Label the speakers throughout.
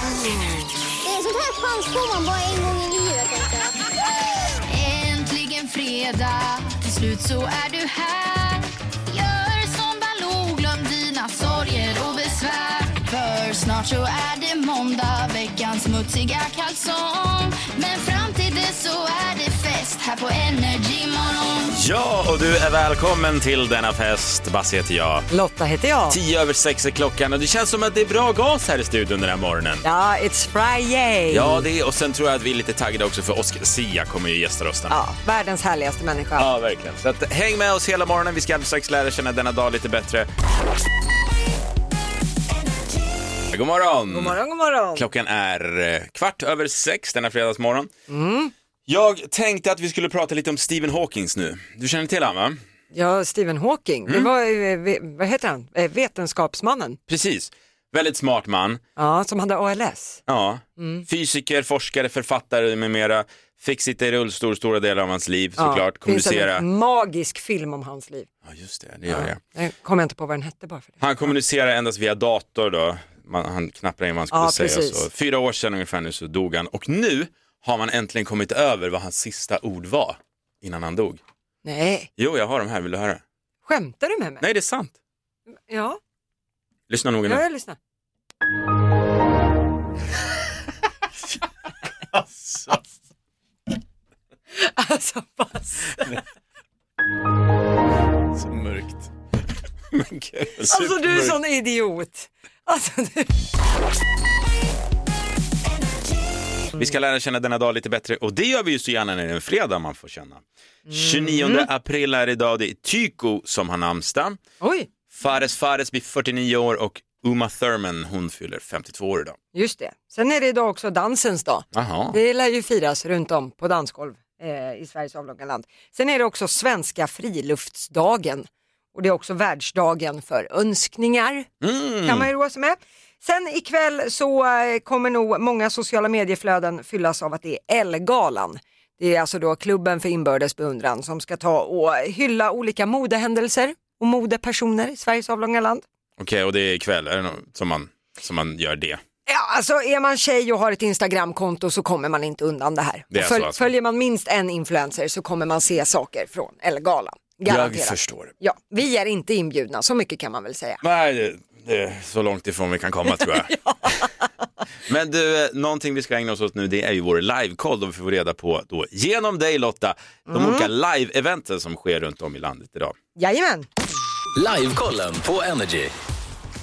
Speaker 1: Det är sånt här chans får man bara en gång i livet. tänkte jag.
Speaker 2: Äntligen fredag, till slut så är du här. Gör som Baloo, glöm dina sorger och besvär. För snart så är det måndag, veckans smutsiga kalsong. Men fram till dess så är det fest här på Energy Morgon.
Speaker 3: Ja, och du är välkommen till denna fest. Basse heter jag.
Speaker 4: Lotta heter jag.
Speaker 3: Tio över sex är klockan och det känns som att det är bra gas här i studion den här morgonen.
Speaker 4: Ja, it's Friday.
Speaker 3: Ja, det är, och sen tror jag att vi är lite taggade också för Oscar Sia kommer ju gästa oss den här
Speaker 4: Ja, världens härligaste människa.
Speaker 3: Ja, verkligen. Så att, häng med oss hela morgonen. Vi ska alldeles strax lära känna denna dag lite bättre. God morgon!
Speaker 4: God morgon, god morgon.
Speaker 3: Klockan är eh, kvart över sex denna fredagsmorgon.
Speaker 4: Mm.
Speaker 3: Jag tänkte att vi skulle prata lite om Stephen Hawkings nu. Du känner till honom, va?
Speaker 4: Ja, Stephen Hawking.
Speaker 3: Mm.
Speaker 4: Det var, eh, ve- vad heter han, Eh, vetenskapsmannen.
Speaker 3: Precis. Väldigt smart man.
Speaker 4: Ja, som hade ALS.
Speaker 3: Ja.
Speaker 4: Mm.
Speaker 3: Fysiker, forskare, författare med mera. Fick sitta i rullstol stora delar av hans liv såklart.
Speaker 4: Ja, finns
Speaker 3: Kommunicera.
Speaker 4: en magisk film om hans liv.
Speaker 3: Ja, just det. Det gör jag.
Speaker 4: Jag kommer inte på vad den hette bara för det.
Speaker 3: Han kommunicerar endast via dator då. Man, han knappar in vad han skulle
Speaker 4: Ja,
Speaker 3: säga. och
Speaker 4: precis.
Speaker 3: Så. Fyra år sedan ungefär nu så dog han. Och nu har man äntligen kommit över vad hans sista ord var innan han dog.
Speaker 4: Nej,
Speaker 3: Jo, jag har dem här. Vill du höra?
Speaker 4: skämtar du med mig?
Speaker 3: Nej, det är sant.
Speaker 4: Ja,
Speaker 3: Lyssna noga
Speaker 4: ja,
Speaker 3: nu.
Speaker 4: jag lyssnar. Alltså, pass.
Speaker 3: Så mörkt. Men gud,
Speaker 4: alltså du är
Speaker 3: supermörkt.
Speaker 4: sån idiot. Alltså, du... Mm.
Speaker 3: Vi ska lära känna denna dag lite bättre och det gör vi ju så gärna när det är en fredag man får känna. 29
Speaker 4: Mm.
Speaker 3: april är idag, det är Tyko som har namnsdag.
Speaker 4: Oj,
Speaker 3: Fares Fares blir 49 år och Uma Thurman hon fyller 52 år idag.
Speaker 4: just det. Sen är det idag också dansens dag.
Speaker 3: Aha.
Speaker 4: Det lär ju firas runt om på dansgolv eh, i Sveriges avlånga land. Sen är det också svenska friluftsdagen och det är också världsdagen för önskningar.
Speaker 3: Mm.
Speaker 4: Kan man ju roa sig med. Sen ikväll så eh, kommer nog många sociala medieflöden fyllas av att det är Ellegalan. Det är alltså då klubben för inbördes beundran som ska ta och hylla olika modehändelser och modepersoner i Sveriges avlånga land.
Speaker 3: Okej, och det är ikväll är det nog som man, som man gör det.
Speaker 4: Ja, alltså är man tjej och har ett Instagramkonto så kommer man inte undan det här.
Speaker 3: Det är
Speaker 4: Och föl-
Speaker 3: så alltså.
Speaker 4: Följer man minst en influencer så kommer man se saker från Ellegalan. Garanterat.
Speaker 3: Jag förstår.
Speaker 4: Ja, vi är inte inbjudna, så mycket kan man väl säga.
Speaker 3: Nej, det, det är så långt ifrån vi kan komma tror jag. Men du, eh, någonting vi ska ägna oss åt nu det är ju vår livekoll då vi får reda på då, genom dig Lotta, de olika live-eventen som sker runt om i landet idag.
Speaker 4: Jajamän,
Speaker 5: Livekollen på Energy.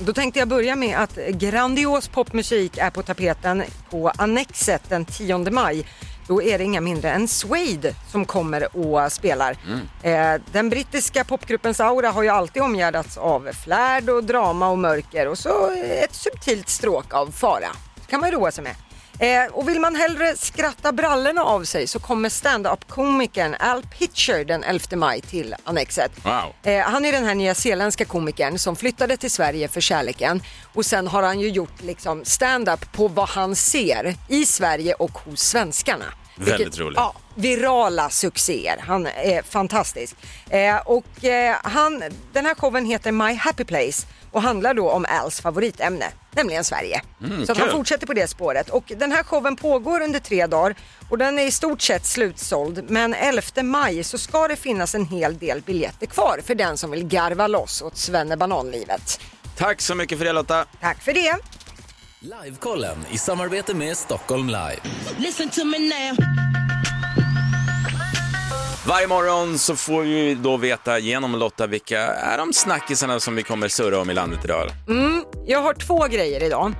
Speaker 4: då tänkte jag börja med att grandios popmusik är på tapeten på Annexet den 10 maj. Då är det inga mindre än Suede som kommer och spelar. Eh, den brittiska popgruppens aura har ju alltid omgärdats av flärd och drama och mörker och så ett subtilt stråk av fara. kan man ju roa sig med. Eh, och vill man hellre skratta brallorna av sig så kommer stand-up-komikern Al Pitcher den 11 maj till Annexet.
Speaker 3: Wow.
Speaker 4: Eh, han är den här nya zeeländska komikern som flyttade till Sverige för kärleken och sen har han ju gjort liksom stand-up på vad han ser i Sverige och hos svenskarna.
Speaker 3: Väldigt
Speaker 4: Vilket-
Speaker 3: roligt.
Speaker 4: Ja, virala succéer. Han är fantastisk. Eh, och eh, han, den här showen heter My Happy Place och handlar då om Als favoritämne, nämligen Sverige. Så att han
Speaker 3: kul.
Speaker 4: fortsätter på det spåret. Och den här showen pågår under tre dagar och den är i stort sett slutsåld. Men 11 maj så ska det finnas en hel del biljetter kvar för den som vill garva loss åt svennebananlivet.
Speaker 3: Tack så mycket för det Lotta.
Speaker 4: Tack för det.
Speaker 5: Livekollen i samarbete med Stockholm Live.
Speaker 6: Listen to me now.
Speaker 3: Varje morgon så får vi då veta genom Lotta vilka är de snackisarna som vi kommer surra om i landet idag.
Speaker 4: Jag har två grejer idag.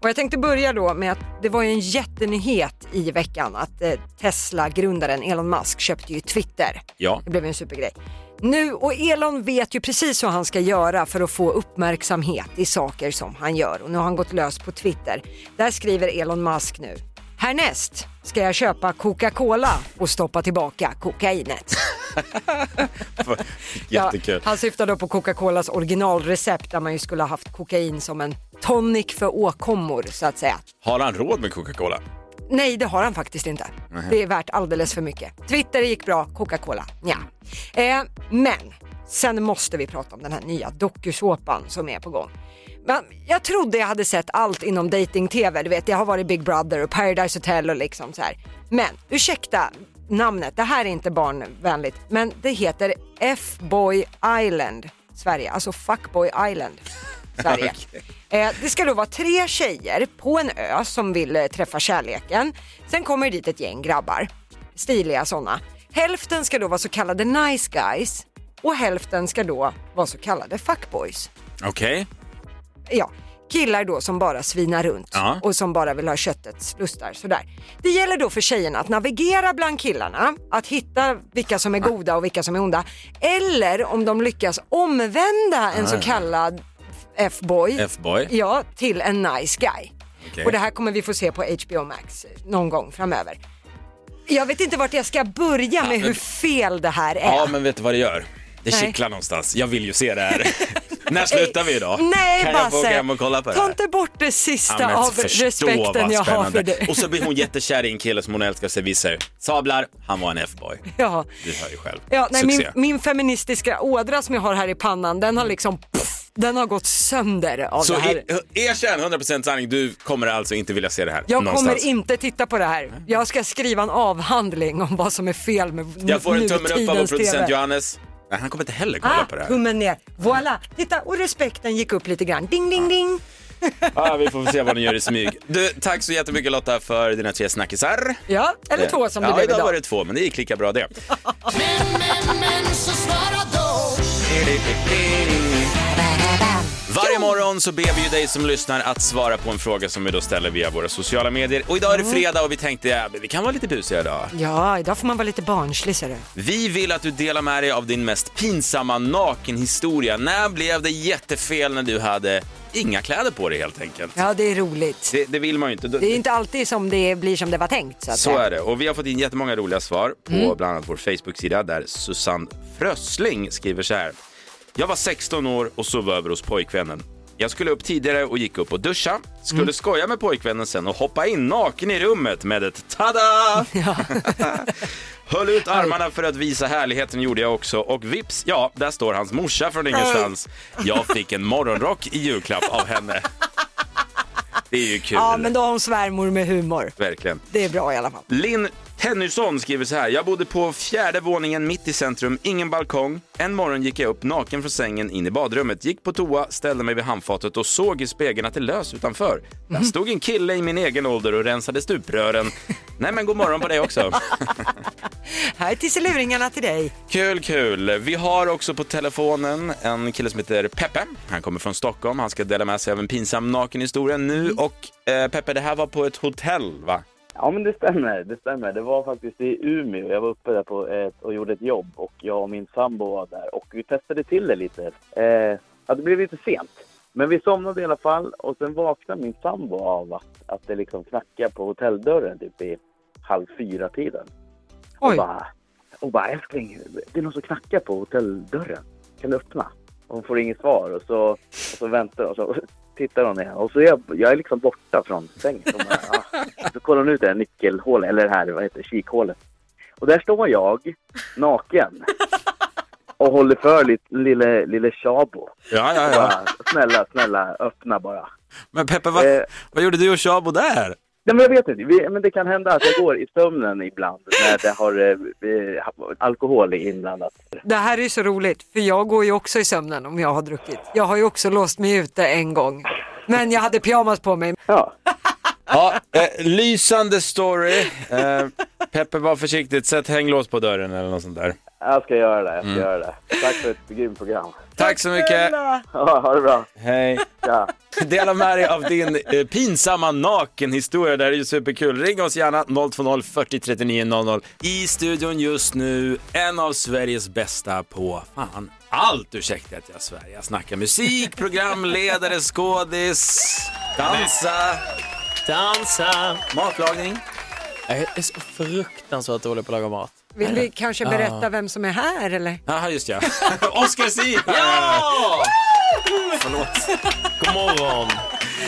Speaker 4: Och jag tänkte börja då med att det var ju en jättenyhet i veckan att eh, Tesla-grundaren Elon Musk köpte ju Twitter.
Speaker 3: Ja.
Speaker 4: Det blev ju en supergrej. Nu, och Elon vet ju precis hur han ska göra för att få uppmärksamhet i saker som han gör. Och nu har han gått lös på Twitter. Där skriver Elon Musk nu. Härnäst ska jag köpa Coca-Cola och stoppa tillbaka kokainet.
Speaker 3: Jättekul.
Speaker 4: Ja, han syftar då på Coca-Colas originalrecept där man ju skulle ha haft kokain som en tonic för åkommor så att säga.
Speaker 3: Har han råd med Coca-Cola?
Speaker 4: Nej, det har han faktiskt inte. Det är värt alldeles för mycket. Twitter gick bra, Coca-Cola ja. eh, Men sen måste vi prata om den här nya dokusåpan som är på gång. Men jag trodde jag hade sett allt inom dating-tv. Du vet, jag har varit Big Brother och Paradise Hotel och liksom så här. Men ursäkta namnet, det här är inte barnvänligt. Men det heter F-boy Island Sverige, alltså Fuckboy Island Sverige. Eh, Det ska då vara tre tjejer på en ö som vill eh, träffa kärleken. Sen kommer dit ett gäng grabbar, stiliga sådana. Hälften ska då vara så kallade nice guys och hälften ska då vara så kallade fuckboys
Speaker 3: Okej.
Speaker 4: ja, killar då som bara svinar runt
Speaker 3: Ja.
Speaker 4: och som bara vill ha köttets lustar. Sådär. Det gäller då för tjejerna att navigera bland killarna, att hitta vilka som är goda och vilka som är onda. Eller om de lyckas omvända en så kallad F-boy
Speaker 3: Ah. F-boy.
Speaker 4: Ja, till en nice guy.
Speaker 3: Okej.
Speaker 4: Och det här kommer vi få se på HBO Max någon gång framöver. Jag vet inte vart jag ska börja med hur fel det här är.
Speaker 3: Ja, men vet du vad det gör? Det
Speaker 4: Nej.
Speaker 3: kittlar någonstans. Jag vill ju se det här. När slutar vi idag?
Speaker 4: Eh, Nej
Speaker 3: kan jag få
Speaker 4: Basse,
Speaker 3: åka hem och kolla på det
Speaker 4: ta
Speaker 3: här?
Speaker 4: inte bort det sista
Speaker 3: Ja, men
Speaker 4: av
Speaker 3: förstå
Speaker 4: respekten
Speaker 3: vad
Speaker 4: jag har för
Speaker 3: spännande.
Speaker 4: dig.
Speaker 3: Och så blir hon jättekär i en kille som hon älskar sig visar sablar. Han var en F-boy.
Speaker 4: Ja.
Speaker 3: Du hör ju själv.
Speaker 4: Ja, nej, min,
Speaker 3: Succé.
Speaker 4: min feministiska ådra som jag har här i pannan, den har liksom pff, den har gått sönder av
Speaker 3: Så
Speaker 4: det här.
Speaker 3: i- erkänn 100% sanning, du kommer alltså inte vilja se det här
Speaker 4: jag
Speaker 3: någonstans.
Speaker 4: kommer inte titta på det här. Jag ska skriva en avhandling om vad som är fel med
Speaker 3: jag får en tummen upp av vår
Speaker 4: nutidens
Speaker 3: producent
Speaker 4: TV.
Speaker 3: Johannes. Nej, han kommer inte heller kolla
Speaker 4: Ah,
Speaker 3: på det här.
Speaker 4: tummen ner. Voilà, titta och respekten gick upp lite grann. Ding, ding, ding.
Speaker 3: Ja, Ah, vi får se vad ni gör i smyg. Du, tack så jättemycket Lotta för dina tre snackisar.
Speaker 4: Ja, eller två som det
Speaker 3: ja,
Speaker 4: blev
Speaker 3: idag.
Speaker 4: idag.
Speaker 3: var det två, men det gick lika bra det.
Speaker 2: Men, men, men så svara då
Speaker 3: Varje morgon så ber vi ju dig som lyssnar att svara på en fråga som vi då ställer via våra sociala medier. Och idag är det
Speaker 4: Mm.
Speaker 3: fredag och vi tänkte, ja, men vi kan vara lite busiga idag.
Speaker 4: Ja, idag får man vara lite barnslig ser du.
Speaker 3: Vi vill att du delar med dig av din mest pinsamma nakenhistoria. När blev det jättefel när du hade inga kläder på dig helt enkelt?
Speaker 4: Ja, det är roligt.
Speaker 3: Det, det vill man ju inte.
Speaker 4: Det är inte alltid som det blir som det Mm. var tänkt. Så att
Speaker 3: Så
Speaker 4: säga.
Speaker 3: är det. Och vi har fått in jättemånga roliga svar på bland annat vår Facebook-sida där Susanne Frösling skriver så här. Jag var 16 år och sov över hos pojkvännen. Jag skulle upp tidigare och gick upp och duscha. Skulle
Speaker 4: Mm.
Speaker 3: skoja med pojkvännen sen och hoppa in naken i rummet med ett tada! Höll ut armarna för att visa härligheten gjorde jag också och vips, ja, där står hans morsa från ingenstans. Jag fick en morgonrock i julklapp av henne. Det är ju kul.
Speaker 4: Ja, men då har hon svärmor med humor.
Speaker 3: Verkligen.
Speaker 4: Det är bra i alla fall.
Speaker 3: Linn Tennysson skriver så här. Jag bodde på fjärde våningen mitt i centrum, ingen balkong. En morgon gick jag upp naken från sängen in i badrummet, gick på toa, ställde mig vid handfatet och såg i spegeln att det lös utanför. Där stod en kille i min egen ålder och rensade stuprören. Nej men god morgon på dig också.
Speaker 4: Här är tisseluringarna till dig.
Speaker 3: Kul, kul. Vi har också på telefonen en kille som heter Peppe. Han kommer från Stockholm. Han ska dela med sig av en pinsam nakenhistoria nu. Och eh, Peppe, det här var på ett hotell, va?
Speaker 6: Ja, men det stämmer. Det stämmer. Det var faktiskt i Umeå. Jag var uppe där på ett, och gjorde ett jobb och jag och min sambo var där och vi testade till det lite. Eh, ja, det blev lite sent. Men vi somnade i alla fall och sen vaknade min sambo av att, att det liksom knackade på hotelldörren typ i halv fyra-tiden. Och
Speaker 4: Oj.
Speaker 6: bara, och bara älskling, det är någon som knackar på hotelldörren. Kan du öppna? Och hon får inget svar och så, och så väntar hon och så tittar hon igen. Och så är jag, jag är liksom borta från sängen. Så, bara, ah. så kollar hon ut det här nyckelhålet, eller det här vad heter det, kikhålet. Och där står jag naken och håller för lite, lille, lille Shabo.
Speaker 3: Ja, ja,
Speaker 6: Bara, snälla, snälla, öppna bara.
Speaker 3: Men Peppe, vad,
Speaker 6: Eh.
Speaker 3: vad gjorde du och Shabo där?
Speaker 6: Nej, men jag vet inte. Vi, men det kan hända att jag går i sömnen ibland när det har eh, eh, alkohol inblandat.
Speaker 4: Det här är ju så roligt, för jag går ju också i sömnen om jag har druckit. Jag har ju också låst mig ute en gång. Men jag hade pyjamas på mig.
Speaker 6: Ja.
Speaker 3: Ja, eh, lysande story. Eh, Peppe, var försiktig. Sätt hänglås på dörren eller något sånt där.
Speaker 6: Jag ska göra det, jag ska göra det. Tack för ett grymt program.
Speaker 3: Tack så mycket.
Speaker 6: Ja, ha det bra.
Speaker 3: Hej.
Speaker 6: Ja.
Speaker 3: Dela med dig av din eh, pinsamma nakenhistoria. Det här är ju superkul. Ring oss gärna 020 40 39 00. I studion just nu, en av Sveriges bästa på fan allt. Ursäkta att jag svär. Jag snackar musik, programledare, skådis, dansa,
Speaker 7: Dansa!
Speaker 3: matlagning.
Speaker 7: Jag är så fruktansvärt dålig på att laga mat.
Speaker 4: Vill vi kanske berätta vem som är här eller?
Speaker 3: Jaha, just ja. Oscar Sia!
Speaker 7: God morgon!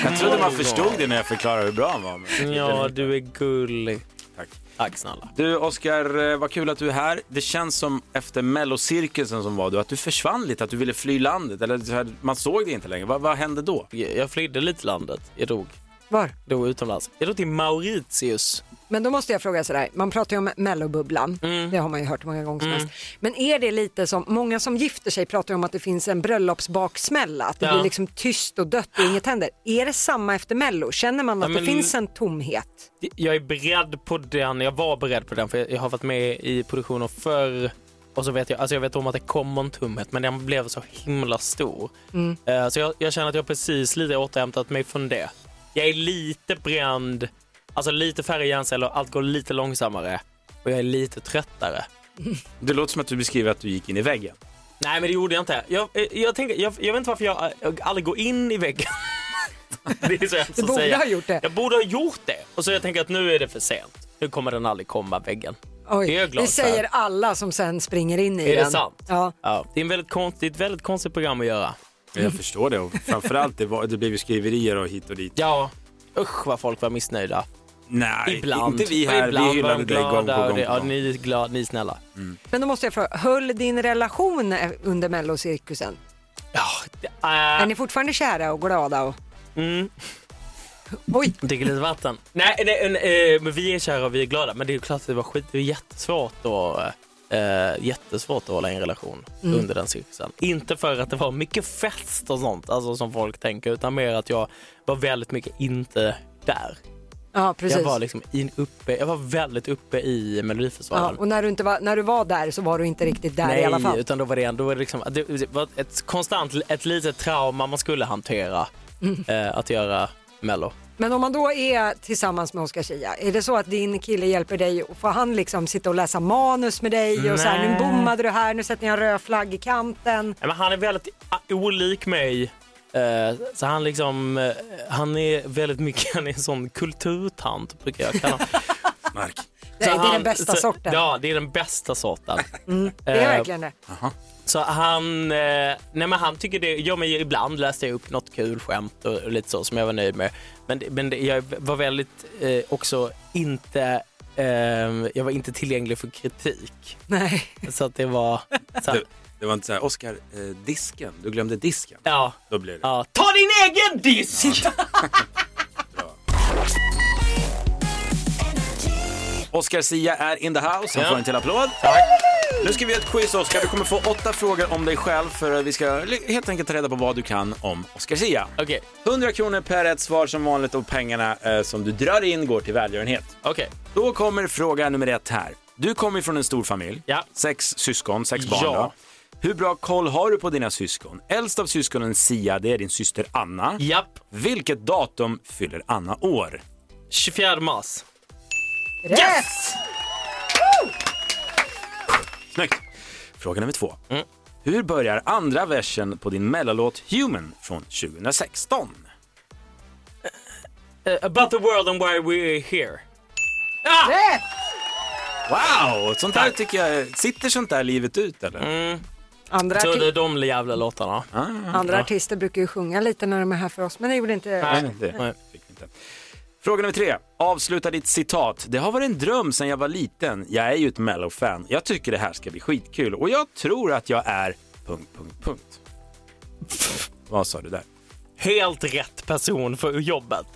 Speaker 3: Jag trodde man förstod det när jag förklarade hur bra han var. Men...
Speaker 7: Ja, du är gullig.
Speaker 3: Tack.
Speaker 7: Tack snälla.
Speaker 3: Du Oskar, vad kul att du är här. Det känns som efter mellocirkusen som var du, att du försvann lite, att du ville fly landet. Eller så här, man såg det inte längre. Vad, vad hände då?
Speaker 7: Jag flydde lite landet. Jag dog.
Speaker 4: Var?
Speaker 7: Dog utomlands. Jag dog till Mauritius.
Speaker 4: Men då måste jag fråga sådär, man pratar ju om mellobubblan,
Speaker 7: Mm.
Speaker 4: det har man ju hört många gånger som helst. Men är det lite som, många som gifter sig pratar ju om att det finns en bröllopsbaksmälla, att det
Speaker 7: Ja.
Speaker 4: blir liksom tyst och dött och inget händer. Är det samma efter mello? Känner man att
Speaker 7: Ja,
Speaker 4: det
Speaker 7: men-
Speaker 4: finns en tomhet?
Speaker 7: Jag är beredd på den. Jag var beredd på den för jag- jag har varit med i produktioner förr. Och så vet jag, alltså jag vet om att det kommer en tumhet men den blev så himla stor. Eh, Så jag, jag känner att jag precis lite återhämtat mig från det. Jag är lite bränd, alltså lite färre hjärnceller, allt går lite långsammare och jag är lite tröttare.
Speaker 3: Det låter som att du beskriver att du gick in i väggen.
Speaker 7: Nej men det gjorde jag inte. Jag, eh, jag, tänkte, jag, jag vet inte varför jag, eh, jag aldrig går in i väggen. det är så hemskt
Speaker 4: Du
Speaker 7: att
Speaker 4: borde
Speaker 7: säga.
Speaker 4: ha gjort det.
Speaker 7: Jag borde ha gjort det. Och så jag tänker att nu är det för sent. Nu kommer den aldrig komma, väggen. det är
Speaker 4: Oj,
Speaker 7: jag glad
Speaker 4: det säger
Speaker 7: för.
Speaker 4: alla som sen springer in i
Speaker 7: Är
Speaker 4: den.
Speaker 7: det sant?
Speaker 4: Ja.
Speaker 7: Ja. Det är en väldigt konst, det är ett väldigt konstigt program att göra. Mm.
Speaker 3: Jag förstår det. Och framförallt, det, var, det blev ju skriverier och hit och dit.
Speaker 7: Ja. Usch vad folk var missnöjda.
Speaker 3: Nej,
Speaker 7: Ibland.
Speaker 3: inte vi
Speaker 7: Och
Speaker 3: här.
Speaker 7: Ibland
Speaker 3: Vi
Speaker 7: var
Speaker 3: hyllade
Speaker 7: de
Speaker 3: dig gång på gång.
Speaker 7: glada och
Speaker 3: På gång.
Speaker 7: det- Ja, ni är glada, ni är snälla.
Speaker 4: Men då måste jag fråga, höll din relation eh, under mellocirkusen?
Speaker 7: Ja, det,
Speaker 4: Är
Speaker 7: äh,
Speaker 4: ni fortfarande kära och glada? Och...
Speaker 7: mm,
Speaker 4: Oj,
Speaker 7: dricker lite vatten. Nej, nej, nej, eh, men vi är kära och vi är glada. Men det är ju klart att det var skit. Det är jättesvårt att, eh, jättesvårt att hålla en relation
Speaker 4: Mm.
Speaker 7: under den cirkusen. Inte för att det var mycket fest och sånt alltså, som folk tänker, utan mer att jag var väldigt mycket inte där.
Speaker 4: ja precis.
Speaker 7: Jag var liksom in, uppe, jag var väldigt uppe i
Speaker 4: ja,
Speaker 7: Melodifestivalen.
Speaker 4: och när du, inte var, när du var där så var du inte riktigt där
Speaker 7: Nej,
Speaker 4: i alla fall?
Speaker 7: utan då var det, då var det, liksom, det, det var ett konstant, ett litet trauma man skulle hantera
Speaker 4: Mm.
Speaker 7: eh, att göra Mello.
Speaker 4: Men om man då är tillsammans med Oscar Zia, är det så att din kille hjälper dig och får han liksom sitta och läsa manus med dig och så här, nu
Speaker 7: Nej.
Speaker 4: bommade du här, nu sätter jag en röd flagg i kanten.
Speaker 7: Nej, men han är väldigt a- olik mig. Eh, Så han, liksom, eh, han är väldigt mycket han är en sån kulturtant, brukar jag kalla honom.
Speaker 3: Mark.
Speaker 4: Nej, det
Speaker 7: Så
Speaker 4: är
Speaker 7: han-
Speaker 4: den bästa
Speaker 7: så,
Speaker 4: sorten. Mm.
Speaker 7: Ja, det är den bästa sorten.
Speaker 4: Det är
Speaker 7: Eh,
Speaker 4: verkligen det.
Speaker 7: Så han, eh, nej men han tycker det, ja men ibland läste jag upp något kul skämt och, och lite så som jag var nöjd med. Men, det- men det, jag var väldigt eh, också inte, eh, jag var inte tillgänglig för kritik.
Speaker 4: Nej.
Speaker 7: Så att det var, så här,
Speaker 3: Det, det var inte så här, Oskar, eh, disken. Du glömde disken.
Speaker 7: ja,
Speaker 3: Då blev det.
Speaker 7: ja. Ta din egen disk!
Speaker 3: Oscar Sia är in the house. Han
Speaker 7: Ja.
Speaker 3: får en till applåd. Nu ska vi göra ett quiz, Oscar. Du kommer få åtta frågor om dig själv för vi ska li- helt enkelt ta reda på vad du kan om Oscar Sia.
Speaker 7: Okej,
Speaker 3: 100 kronor per rätt svar som vanligt och pengarna eh, som du drar in går till välgörenhet.
Speaker 7: okej.
Speaker 3: Då kommer fråga nummer ett här. Du kommer från en stor familj,
Speaker 7: Ja.
Speaker 3: sex syskon, sex barn.
Speaker 7: Ja.
Speaker 3: va? Hur bra koll har du på dina syskon? Äldst av syskonen Sia, det är din syster Anna.
Speaker 7: Japp,
Speaker 3: Vilket datum fyller Anna år?
Speaker 7: 24 mars.
Speaker 4: Rätt!
Speaker 3: Snyggt! Fråga nummer två. Hur börjar andra versen på din mellanlåt Human från 2016?
Speaker 7: Eh, about the world and why we're here. Ah!
Speaker 3: Wow! Sånt där tycker jag, sitter sånt där livet ut eller?
Speaker 4: Andra,
Speaker 7: Så det
Speaker 4: arti-
Speaker 7: är de jävla låtarna.
Speaker 4: andra artister brukar ju sjunga lite när de är här för oss, men det gjorde inte...
Speaker 3: Nej, det
Speaker 7: Nej.
Speaker 3: fick vi inte. Fråga nummer tre. Avsluta ditt citat. Det har varit en dröm sedan jag var liten. Jag är ju ett Mello-fan. Jag tycker det här ska bli skitkul och jag tror att jag är... Punkt, punkt, punkt. Vad sa du där?
Speaker 7: Helt rätt person för jobbet.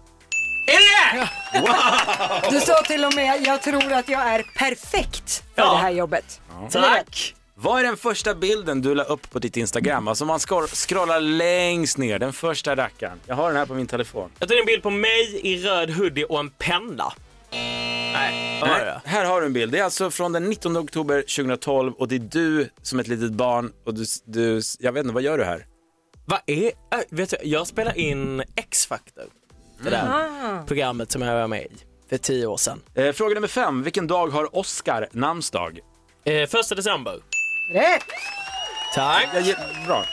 Speaker 4: Du sa till och med, jag tror att jag är perfekt för
Speaker 7: Ja.
Speaker 4: det här jobbet.
Speaker 7: Tack!
Speaker 3: Vad är den första bilden du la upp på ditt Instagram? Alltså man scroll- scrollar längst ner, den första rackaren. Jag har den här på min telefon.
Speaker 7: Jag tog en bild på mig i röd hoodie och en penna. Nej, vad var det?
Speaker 3: Här har du en bild. Det är alltså från den 19 oktober 2012 och det är du som ett litet barn och du, du jag vet inte, vad gör du här?
Speaker 7: Vad är... Äh, vet du, jag spelar in X-Factor. Det där programmet som jag var med i för tio år sedan.
Speaker 3: Eh, fråga nummer fem. Vilken dag har Oscar namnsdag?
Speaker 7: Eh, första december.
Speaker 4: Rätt!
Speaker 7: Tack.
Speaker 3: Jag ger- Bra.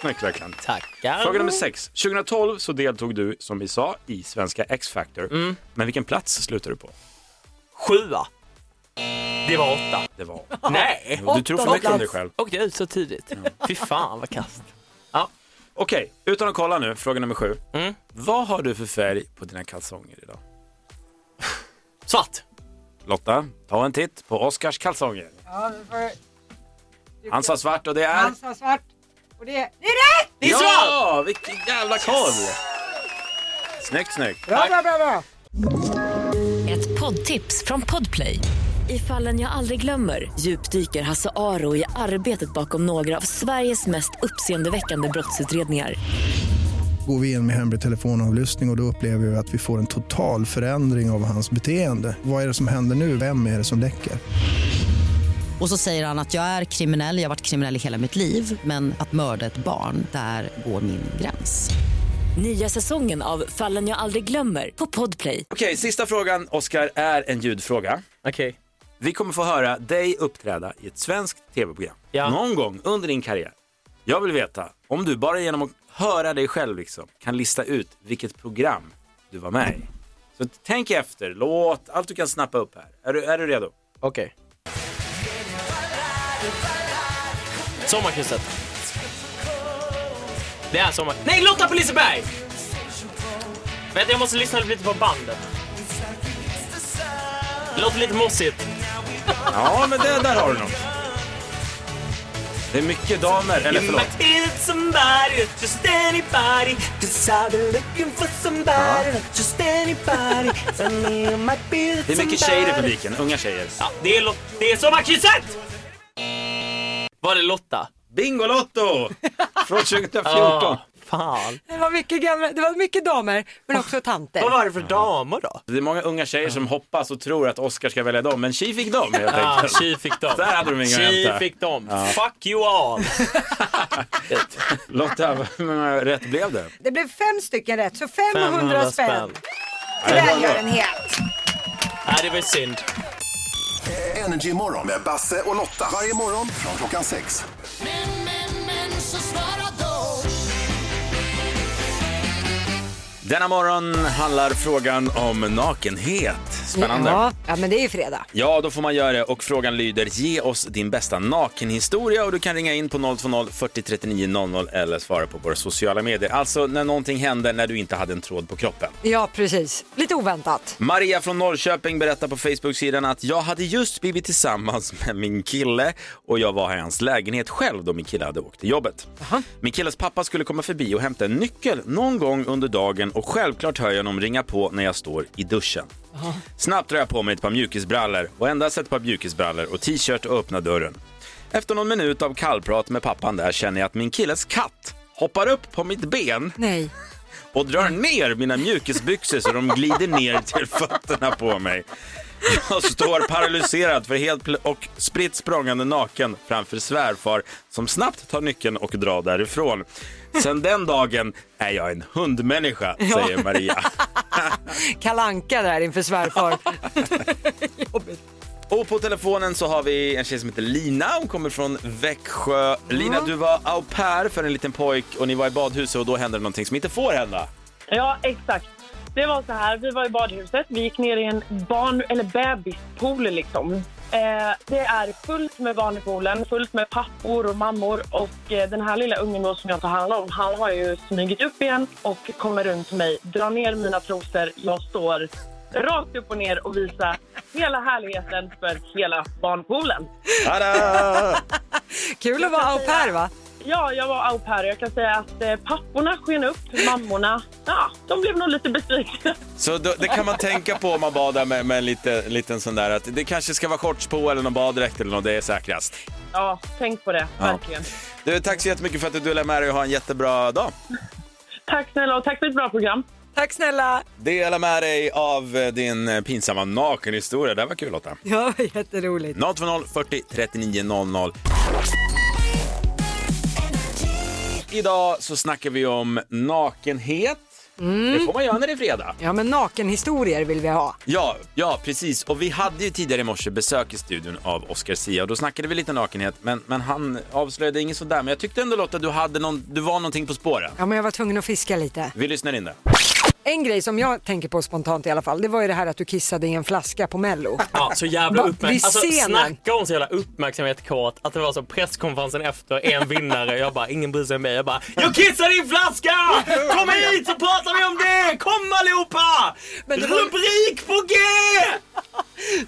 Speaker 3: Snyggt verkligen.
Speaker 7: Tackar.
Speaker 3: Fråga nummer sex. 2012 så deltog du, som vi sa, i Svenska X-Factor. Men vilken plats slutade du på?
Speaker 7: Sjua. Det var åtta.
Speaker 3: Det var...
Speaker 7: Nej!
Speaker 3: Du tror för mycket om dig själv.
Speaker 7: Åkte jag ut så tidigt? Fy fan vad kast.
Speaker 3: Okej, utan att kolla nu, fråga nummer sju.
Speaker 7: Mm.
Speaker 3: Vad har du för färg på dina kalsonger idag?
Speaker 7: Svart.
Speaker 3: Lotta, ta en titt på Oscars kalsonger.
Speaker 4: Ja, det var-
Speaker 3: Han sa svart och det är...
Speaker 4: Han sa svart. Och det, det är rätt!
Speaker 3: Det är ja, vilken jävla koll! Snyggt, snyggt.
Speaker 4: Bra, bra, bra, bra.
Speaker 8: Ett poddtips från Podplay. I fallen jag aldrig glömmer djupdyker Hasse Aro i arbetet bakom några av Sveriges mest uppseendeväckande brottsutredningar.
Speaker 9: Går vi in med hemlig telefonavlyssning och, och då upplever vi att vi får en total förändring av hans beteende. Vad är det som händer nu? Vem är det som läcker?
Speaker 10: Och så säger han att jag är kriminell, jag har varit kriminell i hela mitt liv men att mörda ett barn, där går min gräns.
Speaker 8: Nya säsongen av Fallen jag aldrig glömmer på Podplay.
Speaker 3: Okej, sista frågan, Oscar, är en ljudfråga.
Speaker 7: Okej.
Speaker 3: Vi kommer få höra dig uppträda i ett svenskt tv-program
Speaker 7: Ja.
Speaker 3: någon gång under din karriär. Jag vill veta om du bara genom att höra dig själv liksom, kan lista ut vilket program du var med i. Så tänk efter, låt allt du kan snappa upp här. Är du, är du redo?
Speaker 7: Okej. Sommarkrysset. Det är sommar... Nej, Lotta på Liseberg! Vänta, jag måste lyssna lite på bandet. Det låter lite mossigt.
Speaker 3: Eh, Ja, men det, där har du något. Det är mycket damer, eller förlåt.
Speaker 7: It's somebody, just anybody Cause I've been looking for somebody, not just anybody So me, I might be
Speaker 3: Det är mycket tjejer i publiken, unga tjejer.
Speaker 7: Ja, det är, Lot- det är sommarkrysset! Var det Lotta?
Speaker 3: Bingolotto! Från 2014.
Speaker 7: Fan.
Speaker 4: Det var mycket, gamla, det var mycket damer, men också tanter.
Speaker 7: Vad var det för damer då?
Speaker 3: Det är många unga tjejer som hoppas och tror att Oscar ska välja dem, men tji fick dem helt
Speaker 7: Ja,
Speaker 3: enkelt.
Speaker 7: tji fick dem.
Speaker 3: Där hade de inga att
Speaker 7: Tji
Speaker 3: hämta.
Speaker 7: fick dem. Fuck you all.
Speaker 3: Lotta, hur många rätt blev det?
Speaker 4: Det blev fem stycken rätt, så 500, spänn. Det
Speaker 3: Ja, det var
Speaker 4: där
Speaker 3: bra.
Speaker 4: gör en het.
Speaker 7: Nej, det var ju synd.
Speaker 11: Energy morgon med Basse och Lotta. Varje morgon från klockan sex.
Speaker 3: Denna morgon handlar frågan om nakenhet. Spännande. Ja.
Speaker 4: Ja, ja, men det är ju fredag.
Speaker 3: då får man göra det och frågan lyder ge oss din bästa nakenhistoria och du kan ringa in på 020 40 39 00 eller svara på våra sociala medier. Alltså när någonting händer när du inte hade en tråd på kroppen.
Speaker 4: Ja, precis. Lite oväntat.
Speaker 3: Maria från Norrköping berättar på Facebook-sidan att jag hade just blivit tillsammans med min kille och jag var här i hans lägenhet själv då min kille hade åkt till jobbet. Min killes pappa skulle komma förbi och hämta en nyckel någon gång under dagen och självklart hör jag honom ringa på när jag står i duschen. Snabbt drar jag på mig ett par mjukisbrallor och endast ett par mjukisbrallor och t-shirt och öppnar dörren. Efter någon minut av kallprat med pappan där känner jag att min killes katt hoppar upp på mitt ben
Speaker 4: Nej.
Speaker 3: och drar ner mina mjukisbyxor så de glider ner till fötterna på mig. Jag står paralyserad för helt pl- och spritt språngande naken framför svärfar som snabbt tar nyckeln och drar därifrån. Sen den dagen är jag en hundmänniska, säger Maria.
Speaker 4: Kalanka där inför svärfar.
Speaker 3: Och på telefonen så har vi en tjej som heter Lina. Hon kommer från Växjö. Lina, du var au pair för en liten pojk och ni var i badhuset och då hände det någonting som inte får hända.
Speaker 12: Ja, exakt. Det var så här, vi var i badhuset, vi gick ner i en barn eller bebispool liksom. Eh, det är fullt med barn i poolen, fullt med pappor och mammor och eh, den här lilla ungen då som jag tar hand om, han har ju smugit upp igen och kommer runt mig, drar ner mina trosor, jag står rakt upp och ner och visar hela härligheten för hela barnpoolen.
Speaker 3: Tada!
Speaker 4: Kul att vara au pair, va?
Speaker 12: Ja, jag var au pair. Jag kan säga att eh, papporna sken upp, mammorna, ja, de blev nog lite besvikna.
Speaker 3: Så då, det kan man tänka på om man badar med, med en liten, liten sån där att det kanske ska vara shorts på eller någon baddräkt eller något, det är säkrast.
Speaker 12: Ja, tänk på det,
Speaker 3: Ja.
Speaker 12: verkligen.
Speaker 3: Du, tack så jättemycket för att du delade med dig och ha en jättebra dag.
Speaker 12: Tack snälla och tack för ett bra program.
Speaker 4: Tack snälla.
Speaker 3: Dela med dig av eh, din eh, pinsamma nakenhistoria, det här var kul Lotta.
Speaker 4: Ja, vad jätteroligt.
Speaker 3: 020 40 39 00. Idag så snackar vi om nakenhet. Det får man göra när det är fredag.
Speaker 4: Ja, men nakenhistorier vill vi ha.
Speaker 3: Ja, ja, precis. Och vi hade ju tidigare i morse besök i studion av Oscar Sia och då snackade vi lite nakenhet, men, men han avslöjade inget sådär. Men jag tyckte ändå Lotta, du, hade någon, du var någonting på spåren.
Speaker 4: Ja, men jag var tvungen att fiska lite.
Speaker 3: Vi lyssnar in det.
Speaker 4: En grej som jag tänker på spontant i alla fall, det var ju det här att du kissade i en flaska på Mello.
Speaker 7: Ja, så jävla
Speaker 4: Va-
Speaker 7: uppmärksamhet.
Speaker 4: vid
Speaker 7: Alltså,
Speaker 4: scenen.
Speaker 7: snacka om så jävla uppmärksamhetskåt. Att det var så presskonferensen efter, en vinnare. Jag bara, ingen bryr sig om mig. Jag bara, jag kissar i en flaska! Kom hit så pratar vi om det! Kom allihopa!
Speaker 4: Men det var-
Speaker 7: Rubrik på G!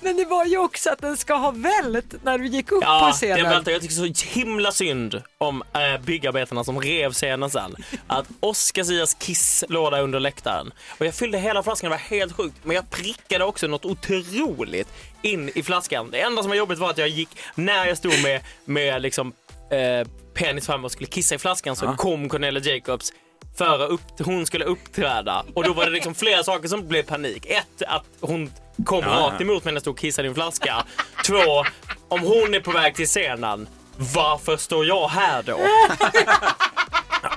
Speaker 4: Men det var ju också att den ska ha vält när du gick upp på
Speaker 7: Ja, det
Speaker 4: scenen.
Speaker 7: väntar. Jag tycker så himla synd om äh, byggarbetarna som rev scenen sen. Att Oscar Zias kiss låg där under läktaren. Och jag fyllde hela flaskan, det var helt sjukt. Men jag prickade också något otroligt in i flaskan. Det enda som var jobbigt var att jag gick, när jag stod med, med liksom, eh, penis fram och skulle kissa i flaskan så
Speaker 13: Ja.
Speaker 7: kom Cornelia Jacobs föra upp, hon skulle uppträda och då var det liksom flera saker som blev panik. Ett, att hon kom
Speaker 13: Ja, ja.
Speaker 7: rakt emot mig när jag stod och kissade i en flaska. Två, om hon är på väg till scenen, varför står jag här då?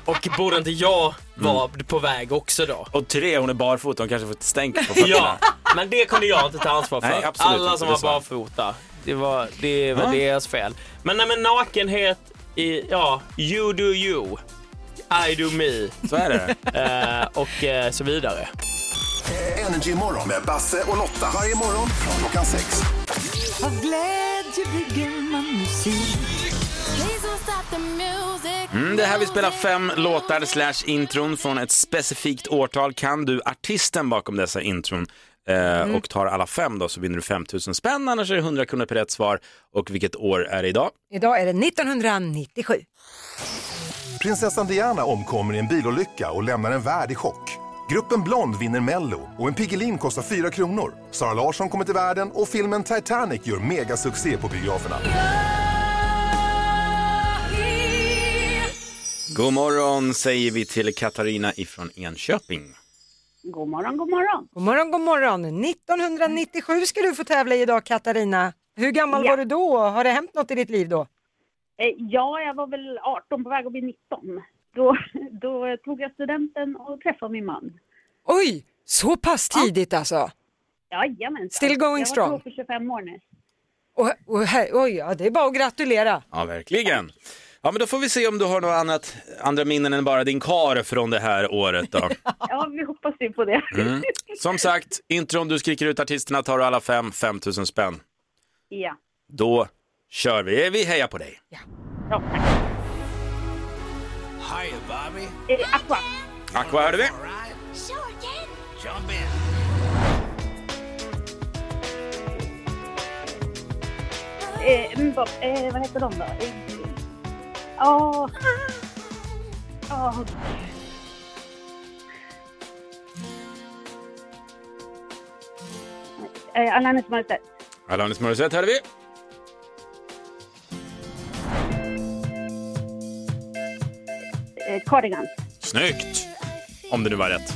Speaker 7: och borde inte jag vara
Speaker 3: Mm.
Speaker 7: på väg också då?
Speaker 3: Och tre, hon är barfota, hon kanske får ett stänk på fötterna.
Speaker 7: Ja, men det kunde jag inte ta ansvar för.
Speaker 3: Nej, absolut
Speaker 7: Alla
Speaker 3: inte,
Speaker 7: som
Speaker 3: det
Speaker 7: var
Speaker 3: är sant.
Speaker 7: barfota, det var, det var
Speaker 3: Ja.
Speaker 7: deras fel. Men nej, men nakenhet i, ja, you do you. I do me.
Speaker 3: Så är det.
Speaker 7: Eh, och eh, så vidare.
Speaker 11: Energy morgon med Basse och Lotta. Varje morgon från klockan sex.
Speaker 14: Av glädje bygger man musik.
Speaker 3: Mm, det är här vi spelar fem låtar slash intron från ett specifikt årtal. Kan du artisten bakom dessa intron eh, och tar alla fem då så vinner du 5 000 spänn, annars är det 100 kronor per rätt svar. Och vilket år är det idag?
Speaker 4: Idag är det 1997.
Speaker 11: Prinsessan Diana omkommer i en bilolycka och lämnar en värld i chock. Gruppen Blond vinner Mello och en Piggelin kostar 4 kronor. Sara Larsson kommer till världen och filmen Titanic gör megasuccé på biograferna.
Speaker 3: God morgon säger vi till Katarina ifrån Enköping.
Speaker 15: God morgon, god morgon.
Speaker 4: God morgon, god morgon. 1997 ska du få tävla i idag Katarina. Hur gammal var du då? Har det hänt något i ditt liv då?
Speaker 15: Eh, Ja, jag var väl 18 på väg att bli 19. Då, då tog jag studenten och träffade min man.
Speaker 4: Oj, så pass tidigt alltså?
Speaker 15: Jajamensan.
Speaker 4: Still going
Speaker 15: jag
Speaker 4: strong.
Speaker 15: Jag var ihop i 25 år nu.
Speaker 4: Och, och, här- oj, ja, det är bara att gratulera.
Speaker 3: Ja, verkligen. Ja, men då får vi se om du har några annat, andra minnen än bara din kar från det här året då.
Speaker 15: Ja, vi hoppas ju på det.
Speaker 3: Mm. Som sagt, intron, du skriker ut artisterna, tar du alla fem, 5 000 spänn.
Speaker 15: Ja.
Speaker 3: Då kör vi. Vi hejar på dig.
Speaker 13: Hi, Bobby.
Speaker 15: Eh, Aqua.
Speaker 3: Aqua hörde vi.
Speaker 13: Jump in.
Speaker 15: Eh, mm, vad- eh, vad heter de då? Eh, Ja. Ja. Eh, Alanis Morissette.
Speaker 3: Alanis Morissette hörde vi.
Speaker 15: Eh, Cardigan.
Speaker 3: Snyggt! Om det nu var rätt.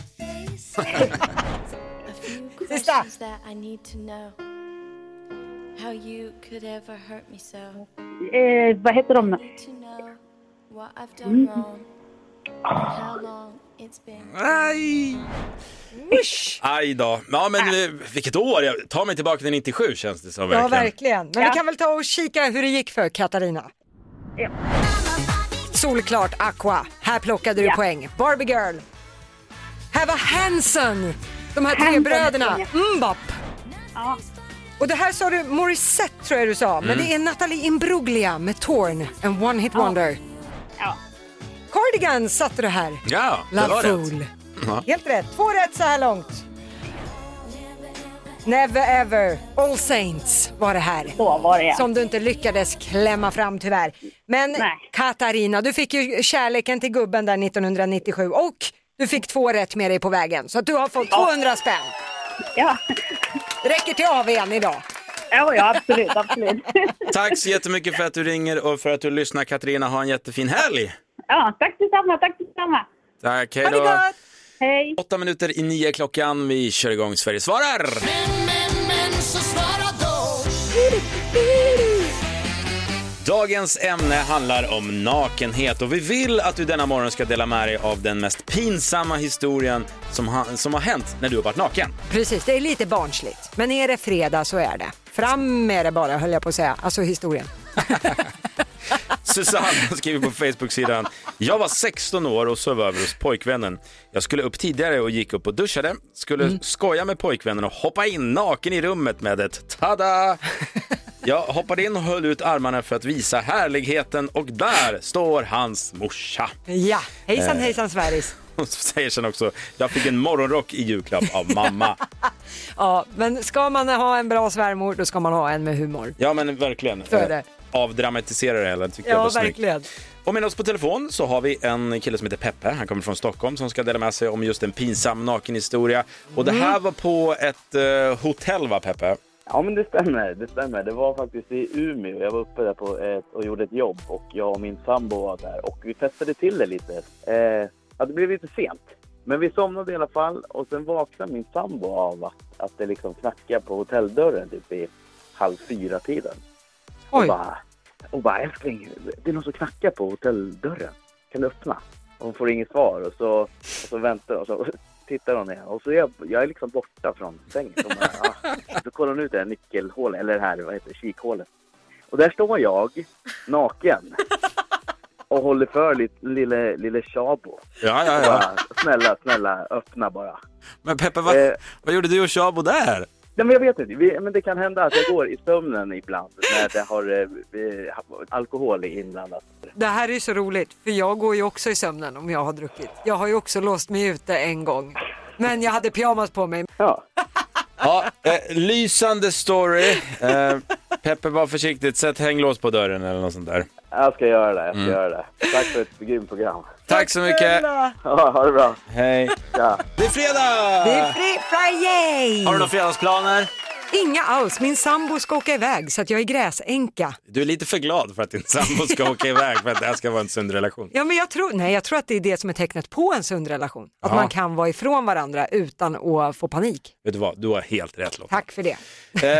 Speaker 4: Sista!
Speaker 15: Eh, vad heter de då? Mm.
Speaker 3: Aj! Aj då. Ja, men eh, vilket år! Jag tar mig tillbaka till 97 känns det som.
Speaker 4: Ja,
Speaker 3: Verkligen.
Speaker 4: verkligen. Men vi kan väl ta och kika hur det gick för Katarina.
Speaker 15: Ja.
Speaker 4: Solklart Aqua. Här plockade du poäng. Barbie Girl. Här var Hanson. De här tre
Speaker 15: Hanson,
Speaker 4: bröderna.
Speaker 15: heter
Speaker 4: Mbop. Och det här sa du Morissette tror jag du sa. Men
Speaker 15: Mm.
Speaker 4: det är Natalie Imbruglia med Torn. En one hit
Speaker 15: Ja.
Speaker 4: wonder.
Speaker 15: Ja.
Speaker 4: Cardigan satte du här.
Speaker 3: Ja, det
Speaker 4: La
Speaker 3: var
Speaker 4: Fool.
Speaker 3: rätt. Ja.
Speaker 4: Helt rätt. Två rätt så här långt. Never ever. All Saints var det här.
Speaker 15: Så var det, ja.
Speaker 4: Som du inte lyckades klämma fram tyvärr. Men Katarina, du fick ju kärleken till gubben där 1997 och du fick två rätt med dig på vägen. Så att du har fått 200 spänn.
Speaker 15: Ja.
Speaker 4: Räcker till AWn idag.
Speaker 15: Ja, ja absolut, absolut.
Speaker 3: Tack så jättemycket för att du ringer och för att du lyssnar Katarina. Ha en jättefin helg!
Speaker 15: Ja, tack detsamma, tack detsamma.
Speaker 3: Tack, hej då!
Speaker 15: Hej.
Speaker 3: Åtta minuter i nio klockan. Vi kör igång Sverige svarar! Dagens ämne handlar om nakenhet och vi vill att du denna morgon ska dela med dig av den mest pinsamma historien som, ha, som har hänt när du har varit naken.
Speaker 4: Precis, det är lite barnsligt. Men är det fredag så är det. Fram med det bara höll jag på att säga, alltså historien.
Speaker 3: Susanne skriver på Facebook-sidan. Jag var 16 år och sov över hos pojkvännen. Jag skulle upp tidigare och gick upp och duschade. Skulle
Speaker 4: Mm.
Speaker 3: skoja med pojkvännen och hoppa in naken i rummet med ett tada. Jag hoppade in och höll ut armarna för att visa härligheten och där står hans morsa.
Speaker 4: Ja, hejsan
Speaker 3: Eh.
Speaker 4: hejsan Sverige.
Speaker 3: Hon säger sen också, jag fick en morgonrock i julklapp av mamma.
Speaker 4: Ja, men ska man ha en bra svärmor då ska man ha en med humor.
Speaker 3: Ja men verkligen.
Speaker 4: Så är det.
Speaker 3: Eh, Avdramatisera det hela, tycker jag
Speaker 4: Ja,
Speaker 3: var snyggt.
Speaker 4: verkligen.
Speaker 3: Och med oss på telefon så har vi en kille som heter Peppe. Han kommer från Stockholm som ska dela med sig om just en pinsam nakenhistoria. Och det här var på ett eh, hotell va Peppe?
Speaker 6: Ja, men det stämmer. Det stämmer. Det var faktiskt i Umeå. Jag var uppe där på ett, och gjorde ett jobb och jag och min sambo var där och vi festade till det lite. Eh, ja, det blev lite sent, men vi somnade i alla fall och sen vaknade min sambo av att, att det liksom knackade på hotelldörren typ i halv fyra-tiden. Och bara, och bara älskling, det är någon som knackar på hotelldörren. Kan du öppna? Och hon får inget svar och så, och så väntar och så tittar hon igen. Och så är jag, jag är liksom borta från sängen. Så, bara, ah. så kollar hon ut det här nyckelhålet, eller det här vad heter det, kikhålet. Och där står jag naken och håller för lit- lille, lille Shabo.
Speaker 3: Ja, ja,
Speaker 6: Och
Speaker 3: ja.
Speaker 6: Bara, snälla, snälla, öppna bara.
Speaker 3: Men Peppe, vad, vad gjorde du och Shabo där?
Speaker 6: Nej, men jag vet inte. Vi, men det kan hända att jag går i sömnen ibland när det har eh, eh, alkohol inblandat.
Speaker 4: Det här är ju så roligt, för jag går ju också i sömnen om jag har druckit. Jag har ju också låst mig ute en gång. Men jag hade pyjamas på mig.
Speaker 6: Ja.
Speaker 3: Ja, eh, lysande story. Eh, Peppe, var försiktigt. Sätt hänglås på dörren eller något sånt där.
Speaker 6: Jag ska göra det. Jag ska
Speaker 3: Mm.
Speaker 6: göra det. Tack för ett grymt program.
Speaker 3: Tack så mycket.
Speaker 6: Ja, ha det bra.
Speaker 3: Hej.
Speaker 6: Ja.
Speaker 3: Det är fredag!
Speaker 4: Det är fri Friday!
Speaker 3: Har du några fredagsplaner?
Speaker 4: Inga alls, min sambo ska åka iväg så att jag är gräsänka.
Speaker 3: Du är lite för glad för att din sambo ska åka iväg för att det här ska vara en sund relation.
Speaker 4: Ja, men jag, tror, nej, jag tror att det är det som är tecknet på en sund relation. Att
Speaker 3: Ja.
Speaker 4: man kan vara ifrån varandra utan att få panik.
Speaker 3: Vet du vad, du har helt rätt Lotta.
Speaker 4: Tack för det.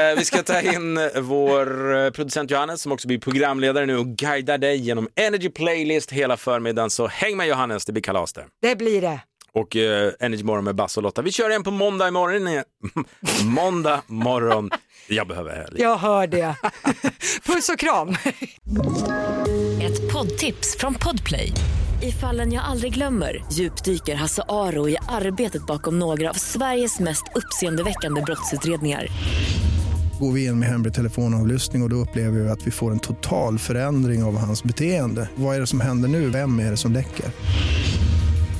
Speaker 3: Eh, vi ska ta in eh, vår eh, producent Johannes som också blir programledare nu och guidar dig genom Energy Playlist hela förmiddagen. Så häng med Johannes, det blir kalas det.
Speaker 4: Det blir det.
Speaker 3: Och eh, Energy Morgon med Basse och Lotta. Vi kör igen på måndag imorgon. igen. måndag morgon. Jag behöver helg.
Speaker 4: Jag hör det. Puss och kram.
Speaker 8: Ett poddtips från Podplay. I fallen jag aldrig glömmer djupdyker Hasse Aro i arbetet bakom några av Sveriges mest uppseendeväckande brottsutredningar.
Speaker 9: Går vi in med hemlig telefonavlyssning och, och då upplever vi att vi får en total förändring av hans beteende. Vad är det som händer nu? Vem är det som läcker?